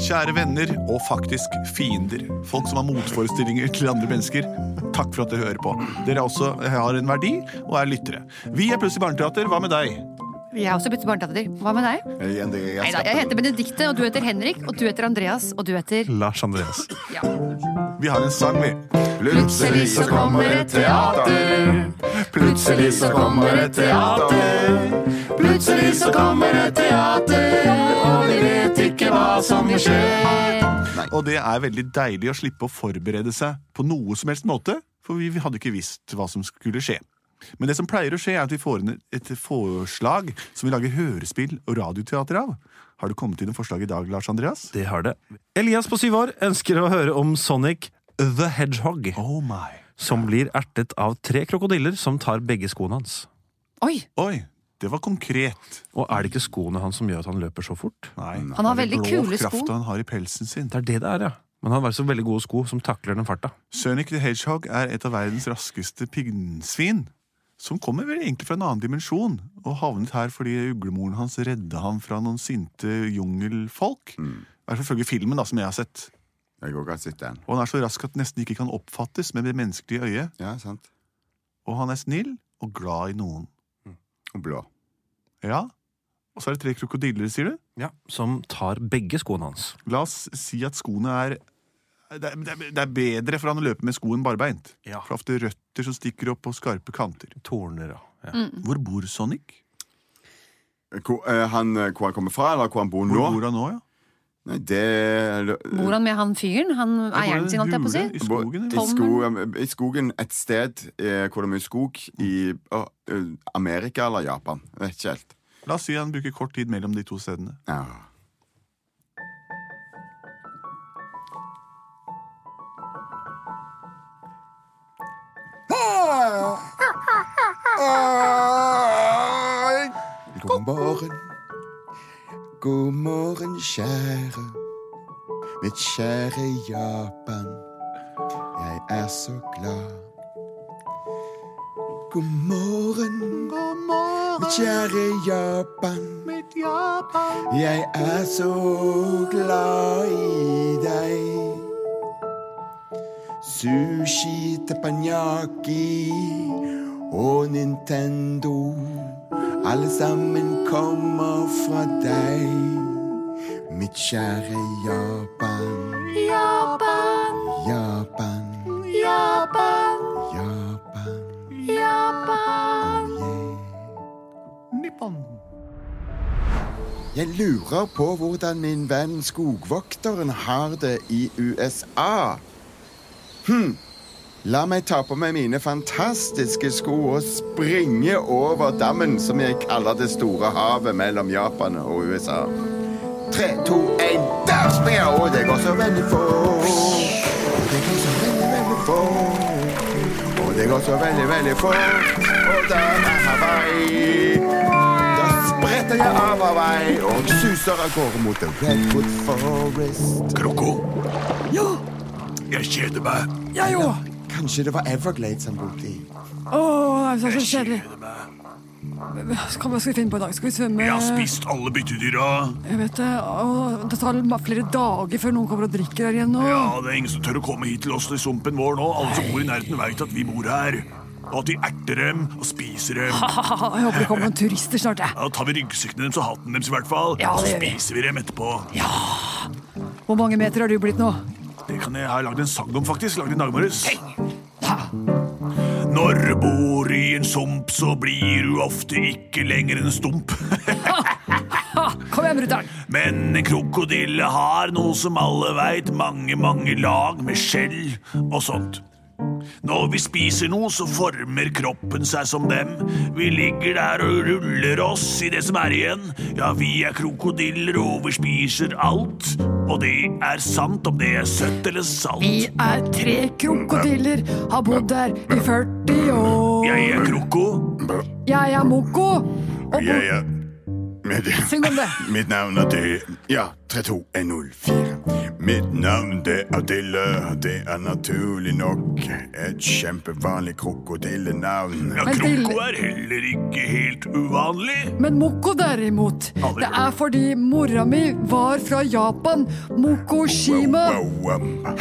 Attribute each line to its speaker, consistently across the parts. Speaker 1: Kjære venner, og faktisk fiender. Folk som har motforestillinger til andre mennesker. Takk for at dere hører på. Dere også har en verdi og er lyttere. Vi er Plutselig barneteater. Hva med deg?
Speaker 2: Jeg er også blitt barneteater. Hva med deg?
Speaker 3: Jeg, jeg, jeg
Speaker 2: Neida, jeg heter Benedikte, og du heter Henrik, og du heter Andreas, og du heter
Speaker 1: Lars Andreas.
Speaker 2: Ja.
Speaker 1: Vi har en sang, vi.
Speaker 3: Plutselig så kommer et teater. Plutselig så kommer et teater. Plutselig så kommer et teater, og vi vet ikke hva som vil skje.
Speaker 1: Og det er veldig deilig å slippe å forberede seg på noe som helst måte, for vi hadde ikke visst hva som skulle skje. Men det som pleier å skje, er at vi får inn et forslag som vi lager hørespill og radioteater av. Har du kommet inn med forslag i dag, Lars Andreas?
Speaker 4: Det har det. Elias på syv år ønsker å høre om Sonic the Hedgehog,
Speaker 1: Oh my.
Speaker 4: som blir ertet av tre krokodiller som tar begge skoene hans.
Speaker 2: Oi!
Speaker 1: Oi, det var konkret.
Speaker 4: Og er det ikke skoene hans som gjør at han løper så fort?
Speaker 1: Nei.
Speaker 2: Han har
Speaker 1: det er
Speaker 2: veldig
Speaker 1: blå
Speaker 2: kule
Speaker 1: krafta
Speaker 2: sko.
Speaker 1: han har i pelsen sin.
Speaker 4: Det er det det er, ja. Men han har så veldig gode sko som takler den farta.
Speaker 1: Sonic the Hedgehog er et av verdens raskeste pinnsvin. Som kommer vel egentlig fra en annen dimensjon, og havnet her fordi uglemoren hans redda ham fra noen sinte jungelfolk. Det er selvfølgelig filmen da, som jeg har sett.
Speaker 3: Jeg går ikke og sitter den.
Speaker 1: Og han er så rask at den nesten ikke kan oppfattes med det menneskelige øyet.
Speaker 3: Ja, sant.
Speaker 1: Og han er snill og glad i noen.
Speaker 3: Og blå.
Speaker 1: Ja, og så er det tre krokodiller, sier du?
Speaker 4: Ja, Som tar begge skoene hans.
Speaker 1: La oss si at skoene er det er, det er- det er bedre for han å løpe med skoen barbeint.
Speaker 4: Ja.
Speaker 1: For det er ofte røtter som stikker opp på skarpe kanter.
Speaker 4: Torner og ja.
Speaker 2: Mm.
Speaker 1: Hvor bor Sonic?
Speaker 3: Hvor, eh, han, eh, hvor han kommer fra, eller hvor han bor
Speaker 1: Hvor
Speaker 3: nå?
Speaker 1: bor han nå, ja?
Speaker 3: Nei, det eh,
Speaker 2: Bor han med han fyren? Han eieren sin, holdt jeg på å si?
Speaker 1: I
Speaker 3: Bo-
Speaker 1: skogen,
Speaker 3: i,
Speaker 1: eller?
Speaker 3: skogen, I skogen et sted eh, hvor det er mye skog. I å, eh, Amerika eller Japan. Jeg Vet ikke helt.
Speaker 1: La oss si han bruker kort tid mellom de to stedene.
Speaker 3: Ja. Ah. Ah. God morgen. God morgen, kjære. Mitt kjære Japan. Jeg er så glad. God morgen, mitt kjære Japan. Jeg er så glad i deg. Sushi, teppanyaki og Nintendo. Alle sammen kommer fra deg, mitt kjære Japan. Japan. Japan. Japan. Japan.
Speaker 1: Nippon.
Speaker 3: Jeg lurer på hvordan min venn skogvokteren har det i USA. Hm. La meg ta på meg mine fantastiske sko og springe over dammen som jeg kaller det store havet mellom Japan og USA. Tre, to, én, der springer jeg! Og det går så veldig fort. Og det går så veldig, veldig fort. Og det går så veldig, veldig fort. Og der er Hawaii. Da spretter jeg av av vei og suser av gårde mot The Redwood Forest.
Speaker 1: Kroko. Ja? Jeg kjeder meg.
Speaker 4: Jeg òg!
Speaker 3: Kanskje det var Everglades han bodde i.
Speaker 5: Åh, det er så kjedelig. Hva hva skal vi finne på i dag? Skal vi svømme?
Speaker 1: spist alle byttedyra.
Speaker 5: Jeg vet det. Åh, det tar ma- flere dager før noen kommer og drikker her igjen nå.
Speaker 1: det er ingen som tør å komme hit til oss i sumpen vår nå. Alle som bor i nærheten, veit at vi bor her. Og at de erter dem og spiser dem.
Speaker 5: Haha, jeg håper det kommer noen turister snart, jeg.
Speaker 1: Ja, Da tar vi ryggsekkene deres og hatten deres, i hvert fall.
Speaker 5: Ja,
Speaker 1: og så
Speaker 5: det gjør vi.
Speaker 1: spiser vi dem etterpå.
Speaker 5: Hvor mange meter har du blitt nå?
Speaker 1: Det kan jeg ha lagd en sang om, faktisk. Lagd i dag morges. Når du bor i en sump, så blir du ofte ikke lenger en stump.
Speaker 5: Kom igjen, brutter'n!
Speaker 1: Men en krokodille har noe som alle veit, mange, mange lag med skjell og sånt. Når vi spiser noe, så former kroppen seg som dem. Vi ligger der og ruller oss i det som er igjen. Ja, vi er krokodiller, og vi spiser alt. Og det er sant, om det er søtt eller
Speaker 5: Vi
Speaker 1: salt.
Speaker 5: er tre krokodiller, har bodd der i 40 år.
Speaker 1: Jeg er kroko.
Speaker 5: Jeg er Moko. Og bo-
Speaker 3: er Med det.
Speaker 5: Syng om det.
Speaker 3: Mitt navn er det Ja, 32104. Mitt navn det er Dille. Det er naturlig nok et kjempevanlig krokodillenavn.
Speaker 1: Ja,
Speaker 5: Men til-
Speaker 1: Kroko er heller ikke helt uvanlig.
Speaker 5: Men Moko derimot, det er fordi mora mi var fra Japan. Mokoshima.
Speaker 3: Wow, wow.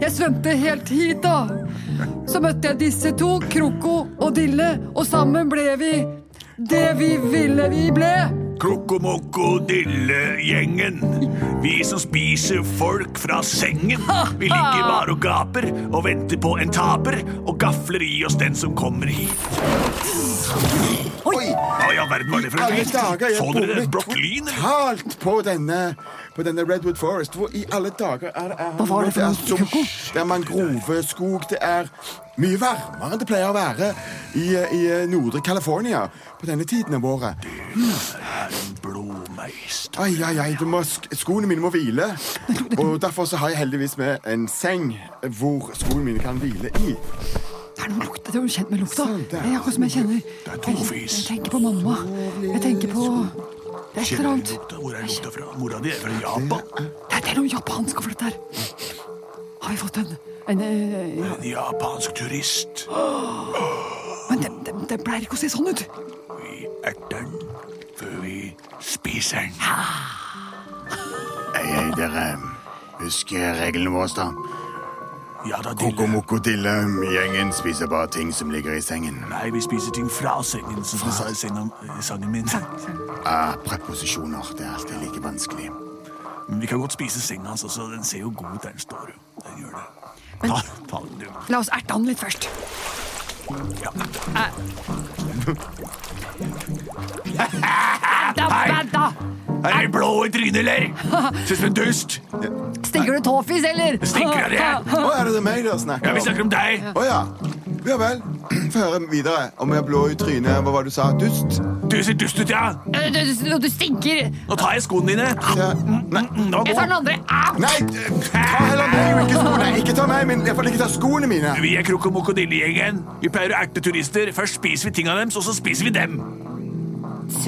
Speaker 5: Jeg svømte helt hit, da. Så møtte jeg disse to, Kroko og Dille, og sammen ble vi det vi ville vi ble.
Speaker 1: Krokomokodillegjengen. Vi som spiser folk fra sengen. Vi ligger bare og gaper og venter på en taper og gafler i oss den som kommer hit.
Speaker 3: Oi!
Speaker 1: Hva i all verden var det for
Speaker 3: Alle
Speaker 1: en
Speaker 3: dager,
Speaker 1: lyd?
Speaker 3: jeg
Speaker 1: Så dere den brokkolien? eller?
Speaker 3: totalt på denne, på denne Redwood Forest. Hvor i alle dager er det er,
Speaker 5: Hva var det for
Speaker 3: er
Speaker 5: noe,
Speaker 3: som-
Speaker 5: Koko?
Speaker 3: Det er mangroveskog. Det er mye varmere enn det pleier å være i, eh, i nordre California på denne tiden av året.
Speaker 1: Blåmeis.
Speaker 3: Ai, ai, ai, du må, sk- skoene mine må hvile. Og derfor så har jeg heldigvis med en seng hvor skoene mine kan hvile i.
Speaker 5: Det er noe lukt, det er noe kjent med lukta.
Speaker 3: Sant, det
Speaker 5: Det
Speaker 3: er.
Speaker 5: er akkurat som jeg kjenner.
Speaker 1: er
Speaker 5: Jeg,
Speaker 1: tofis.
Speaker 5: jeg tenker på mamma. Jeg tenker på et eller
Speaker 1: Kjenner du
Speaker 5: annet.
Speaker 1: lukta? Hvor er lukta fra? Mora di er fra Japan.
Speaker 5: Det er- det er noe japansk over dette her. Har vi fått en, en, eh, ja.
Speaker 1: En japansk turist.
Speaker 5: Men det, det, det pleier ikke å se sånn ut.
Speaker 1: Vi erter den før vi spiser den.
Speaker 3: Ei, ei, dere. Husk reglene våre, da.
Speaker 1: Ja da, Dille.
Speaker 3: Kokomoko-dille-gjengen spiser bare ting som ligger i sengen.
Speaker 1: Nei, vi spiser ting fra sengen, som jeg sa i sengen, i sangen min.
Speaker 3: Ah, preposisjoner. Det er alltid like vanskelig.
Speaker 1: Men vi kan godt spise senga hans også. Den ser jo god ut der den står. jo. Den gjør det.
Speaker 2: Men-
Speaker 1: Ta, ta den, du.
Speaker 2: La oss erte han litt først.
Speaker 1: Ja.
Speaker 2: Da, da, da.
Speaker 1: Er det blå i trynet, eller? Syns du en dust?
Speaker 2: Stinker du tåfis, eller?
Speaker 1: Stinker av det?
Speaker 3: Å, er det det meg dere snakker
Speaker 1: Ja, vi snakker om deg.
Speaker 3: Å ja. Ja vel. Få høre videre. Om jeg er blå i trynet, hva var det du sa? Dust?
Speaker 1: Du ser dust ut, ja.
Speaker 2: Eh, Du, du, du stinker.
Speaker 1: Nå tar jeg skoene dine.
Speaker 3: Ja. Nei.
Speaker 1: Mm, nå
Speaker 2: Jeg tar den
Speaker 1: går.
Speaker 2: andre. Au!
Speaker 3: Nei, ta heller meg og ikke skoene. Ikke ta meg, men iallfall ikke ta skoene mine.
Speaker 1: Vi er krokomokodillegjengen. Vi pleier å erte turister. Først spiser vi tinga deres, og så spiser vi dem.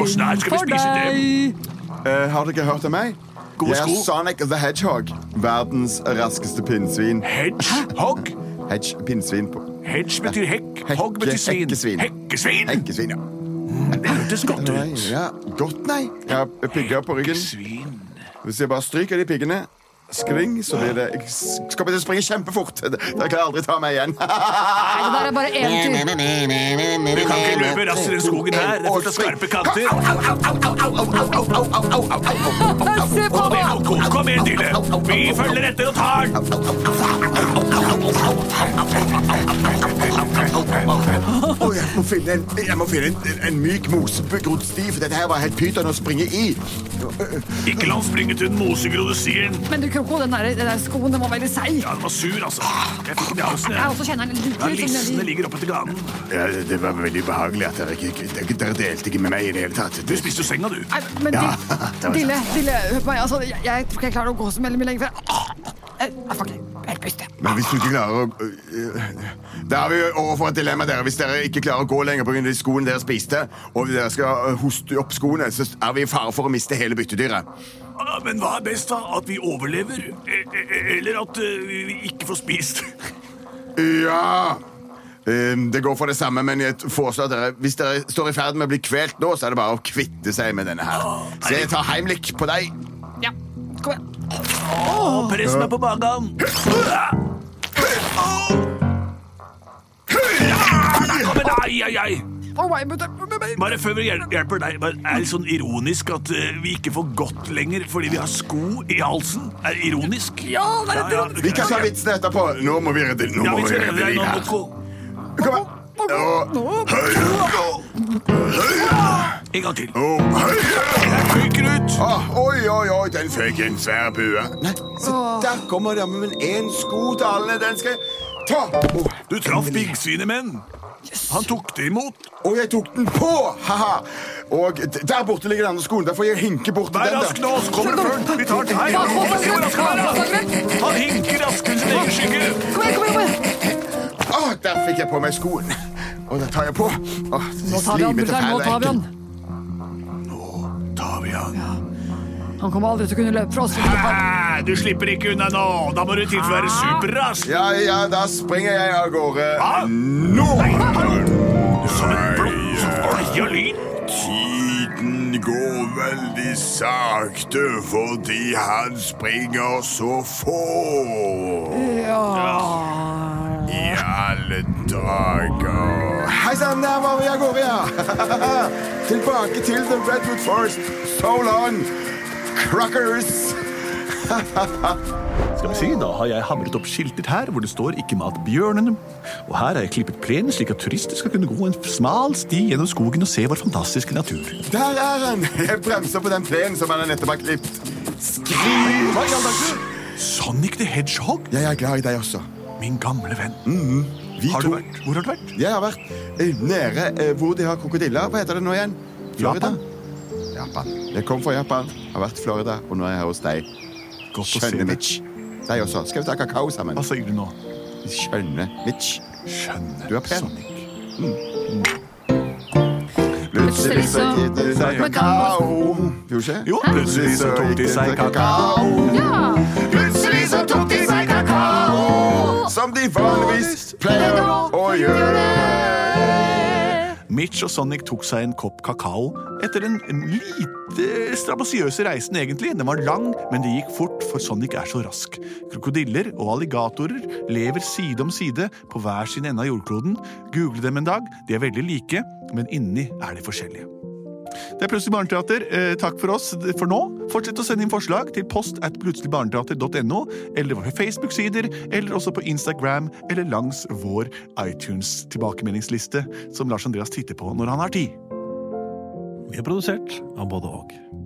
Speaker 1: Og snart skal vi
Speaker 5: For
Speaker 1: spise dem.
Speaker 5: deg.
Speaker 3: Eh, har dere hørt om meg?
Speaker 1: Gode
Speaker 3: jeg er
Speaker 1: sko.
Speaker 3: Sonic the Hedgehog. Verdens raskeste pinnsvin.
Speaker 1: Hedgehog.
Speaker 3: Hedge, pinnsvin på
Speaker 1: Hedge betyr hekk.
Speaker 3: Hekke-
Speaker 1: Hogg betyr svin.
Speaker 3: hekkesvin.
Speaker 1: Hekkesvin!
Speaker 3: enkesvin, ja.
Speaker 1: Det hørtes godt
Speaker 3: Nei,
Speaker 1: ut.
Speaker 3: ja. Godt, nei. Jeg har pigger på ryggen.
Speaker 1: Svin.
Speaker 3: Hvis jeg bare stryker de piggene Skring, så blir det Jeg skal bare springe kjempefort. Dere klarer aldri ta meg igjen.
Speaker 2: Nei, det der er bare eventyr.
Speaker 1: Du kan ikke løpe raskere enn skogen her. Det er fullt av skarpe kanter.
Speaker 5: Se på
Speaker 1: Og det
Speaker 5: meg!
Speaker 1: må kos. Kom igjen, Dille. Vi følger etter og tar den.
Speaker 3: Å, jeg må finne en, jeg må finne en, en myk mosebegrodd sti, for dette her var helt pyton å springe i.
Speaker 1: Ikke la han springe til den mosegrodde stien.
Speaker 5: Men du, Kroko, den der, den der skoen den var veldig seig.
Speaker 1: Ja, den var sur, altså. Jeg fikk den i halsen.
Speaker 2: Jeg
Speaker 1: jeg.
Speaker 2: også kjenner den litt.
Speaker 1: Ja,
Speaker 2: litt sånn
Speaker 1: Lissene
Speaker 2: nedi.
Speaker 1: ligger oppe til ganen.
Speaker 3: Ja, det- det var veldig ubehagelig at dere ikke dere- Dere delte ikke med meg i det hele tatt.
Speaker 1: Du spiste jo senga, du.
Speaker 5: Nei, men
Speaker 3: Ja,
Speaker 5: Dille,
Speaker 3: det var sant.
Speaker 5: Dille, Dille, hør på meg. Altså, jeg, jeg tror ikke jeg klarer å gå så veldig mye lenger. for jeg- Eh, Jeg får ikke helt puste.
Speaker 3: Men hvis du ikke klarer å Da er vi jo overfor et dilemma, dere. Hvis dere ikke klarer å gå lenger pga. de skoene dere spiste, og dere skal øh, hoste opp skoene, så er vi i fare for å miste hele byttedyret.
Speaker 1: Ah, Men hva er best, da? At vi overlever? E- e- Eller at eh, vi vi ikke får spist?
Speaker 3: Ja Ehm, Det går for det samme, men jeg foreslår at dere hvis dere står i ferd med å bli kvelt nå, så er det bare å kvitte seg med denne her. Så jeg tar heimlik på deg.
Speaker 2: Ja. Kom igjen.
Speaker 1: Og press meg på magen. Der kommer det. Ai, ai, ai.
Speaker 5: Å, nei, men det- men- men-
Speaker 1: Bare før vi hjel- hjelper deg, bare er det sånn ironisk at eh, vi ikke får gått lenger fordi vi har sko i halsen? Er det ironisk?
Speaker 5: Ja, det er ironisk.
Speaker 3: Vi kan ta vitsen etterpå. Nå må vi redde Nå
Speaker 1: Ja,
Speaker 3: må
Speaker 1: vi
Speaker 3: vi
Speaker 1: skal redde
Speaker 3: redde
Speaker 1: deg
Speaker 3: liv
Speaker 1: nå,
Speaker 3: her.
Speaker 1: Moko.
Speaker 3: Kom her. Og høyre.
Speaker 1: En gang til.
Speaker 3: Og høyre.
Speaker 1: Jeg fyker ut.
Speaker 3: Ah, oi, oi, oi, den fikk en svær bue. Nei, se, der kommer det med en sko dalende. Den skal jeg ta. Å,
Speaker 1: Du traff piggsvinet, men. Han tok det imot.
Speaker 3: Og jeg tok den på! Haha. Og d- der borte ligger den andre skoen. Der får jeg hinke bort til
Speaker 1: Vær
Speaker 3: den
Speaker 1: rask
Speaker 3: der.
Speaker 1: nå, så kommer det før. Vi tar den her.
Speaker 5: Kom, kom, kom,
Speaker 1: Jo, rask,
Speaker 5: kom,
Speaker 1: vær rask.
Speaker 5: kom, kom.
Speaker 1: Han hinker raskere enn sin egen skygge.
Speaker 5: Kom igjen, kom igjen, kom igjen!
Speaker 3: Ah, der fikk jeg på meg skoen. Og den tar jeg på. Ah,
Speaker 5: Nå tar vi han,
Speaker 3: slimete,
Speaker 5: brutter'n. Nå
Speaker 3: fæle
Speaker 5: tar vi han.
Speaker 1: Nå ja.
Speaker 5: Han kommer aldri til å kunne løpe fra oss.
Speaker 1: Hæ, Du slipper ikke unna nå! Da må du tilføre superrask!
Speaker 3: Ja, ja, da springer jeg av gårde.
Speaker 1: Hæ?
Speaker 3: Nå!
Speaker 1: Nei, hallo! Som en blokk som feier lyn!
Speaker 3: Tiden går veldig sakte fordi han springer så få.
Speaker 5: Ja.
Speaker 3: I alle dager. Hei sann, der var vi av gårde, ja. Tilbake til The Redwood Forest. So long, crackers.
Speaker 6: Skal vi si, Da har jeg hamret opp skilter her hvor det står 'ikke mat bjørnene'. Og her har jeg klippet plenen slik at turister skal kunne gå en smal sti gjennom skogen og se vår fantastiske natur.
Speaker 3: Der er han. Jeg bremser på den plenen som han nettopp har klippet. Skriv! Hva i all dager?
Speaker 6: Sonic the Hedgehog,
Speaker 3: Jeg er glad i deg også.
Speaker 6: min gamle venn.
Speaker 3: Vi
Speaker 6: Har du
Speaker 3: to-
Speaker 6: vært? Hvor har du vært?
Speaker 3: Jeg har vært eh, nede eh, hvor de har krokodiller. Hva heter det nå igjen?
Speaker 6: Japan.
Speaker 3: Japan. Jeg kom fra Japan, har vært i Florida, og nå er jeg her hos deg.
Speaker 6: Godt å se
Speaker 3: Skjønne,
Speaker 6: deg.
Speaker 3: Mitch. Deg også. Skal vi ta kakao sammen?
Speaker 6: Hva sier du nå?
Speaker 3: Skjønne, Mitch.
Speaker 6: Skjønner.
Speaker 3: Du er pen.
Speaker 6: Sonic.
Speaker 2: Plutselig så-
Speaker 3: gikk det seg
Speaker 2: På
Speaker 3: kakao. Gjorde ikke?
Speaker 6: Jo, plutselig så tok de seg kakao.
Speaker 2: Ja.
Speaker 3: Plutselig så tok de seg kakao. Som de vanligvis pleier å gjøre.
Speaker 6: Mitch og Sonic tok seg en kopp kakao etter den lite strabasiøse reisen, egentlig. Den var lang, men det gikk fort, for Sonic er så rask. Krokodiller og alligatorer lever side om side på hver sin ende av jordkloden. Google dem en dag. De er veldig like, men inni er de forskjellige. Det er Plutselig barneteater. Eh, takk for oss for nå. Fortsett å sende inn forslag til post at plutseligbarneteater.no, eller våre Facebook-sider, eller også på Instagram, eller langs vår iTunes-tilbakemeldingsliste, som Lars Andreas titter på når han har tid.
Speaker 4: Vi er produsert av både og.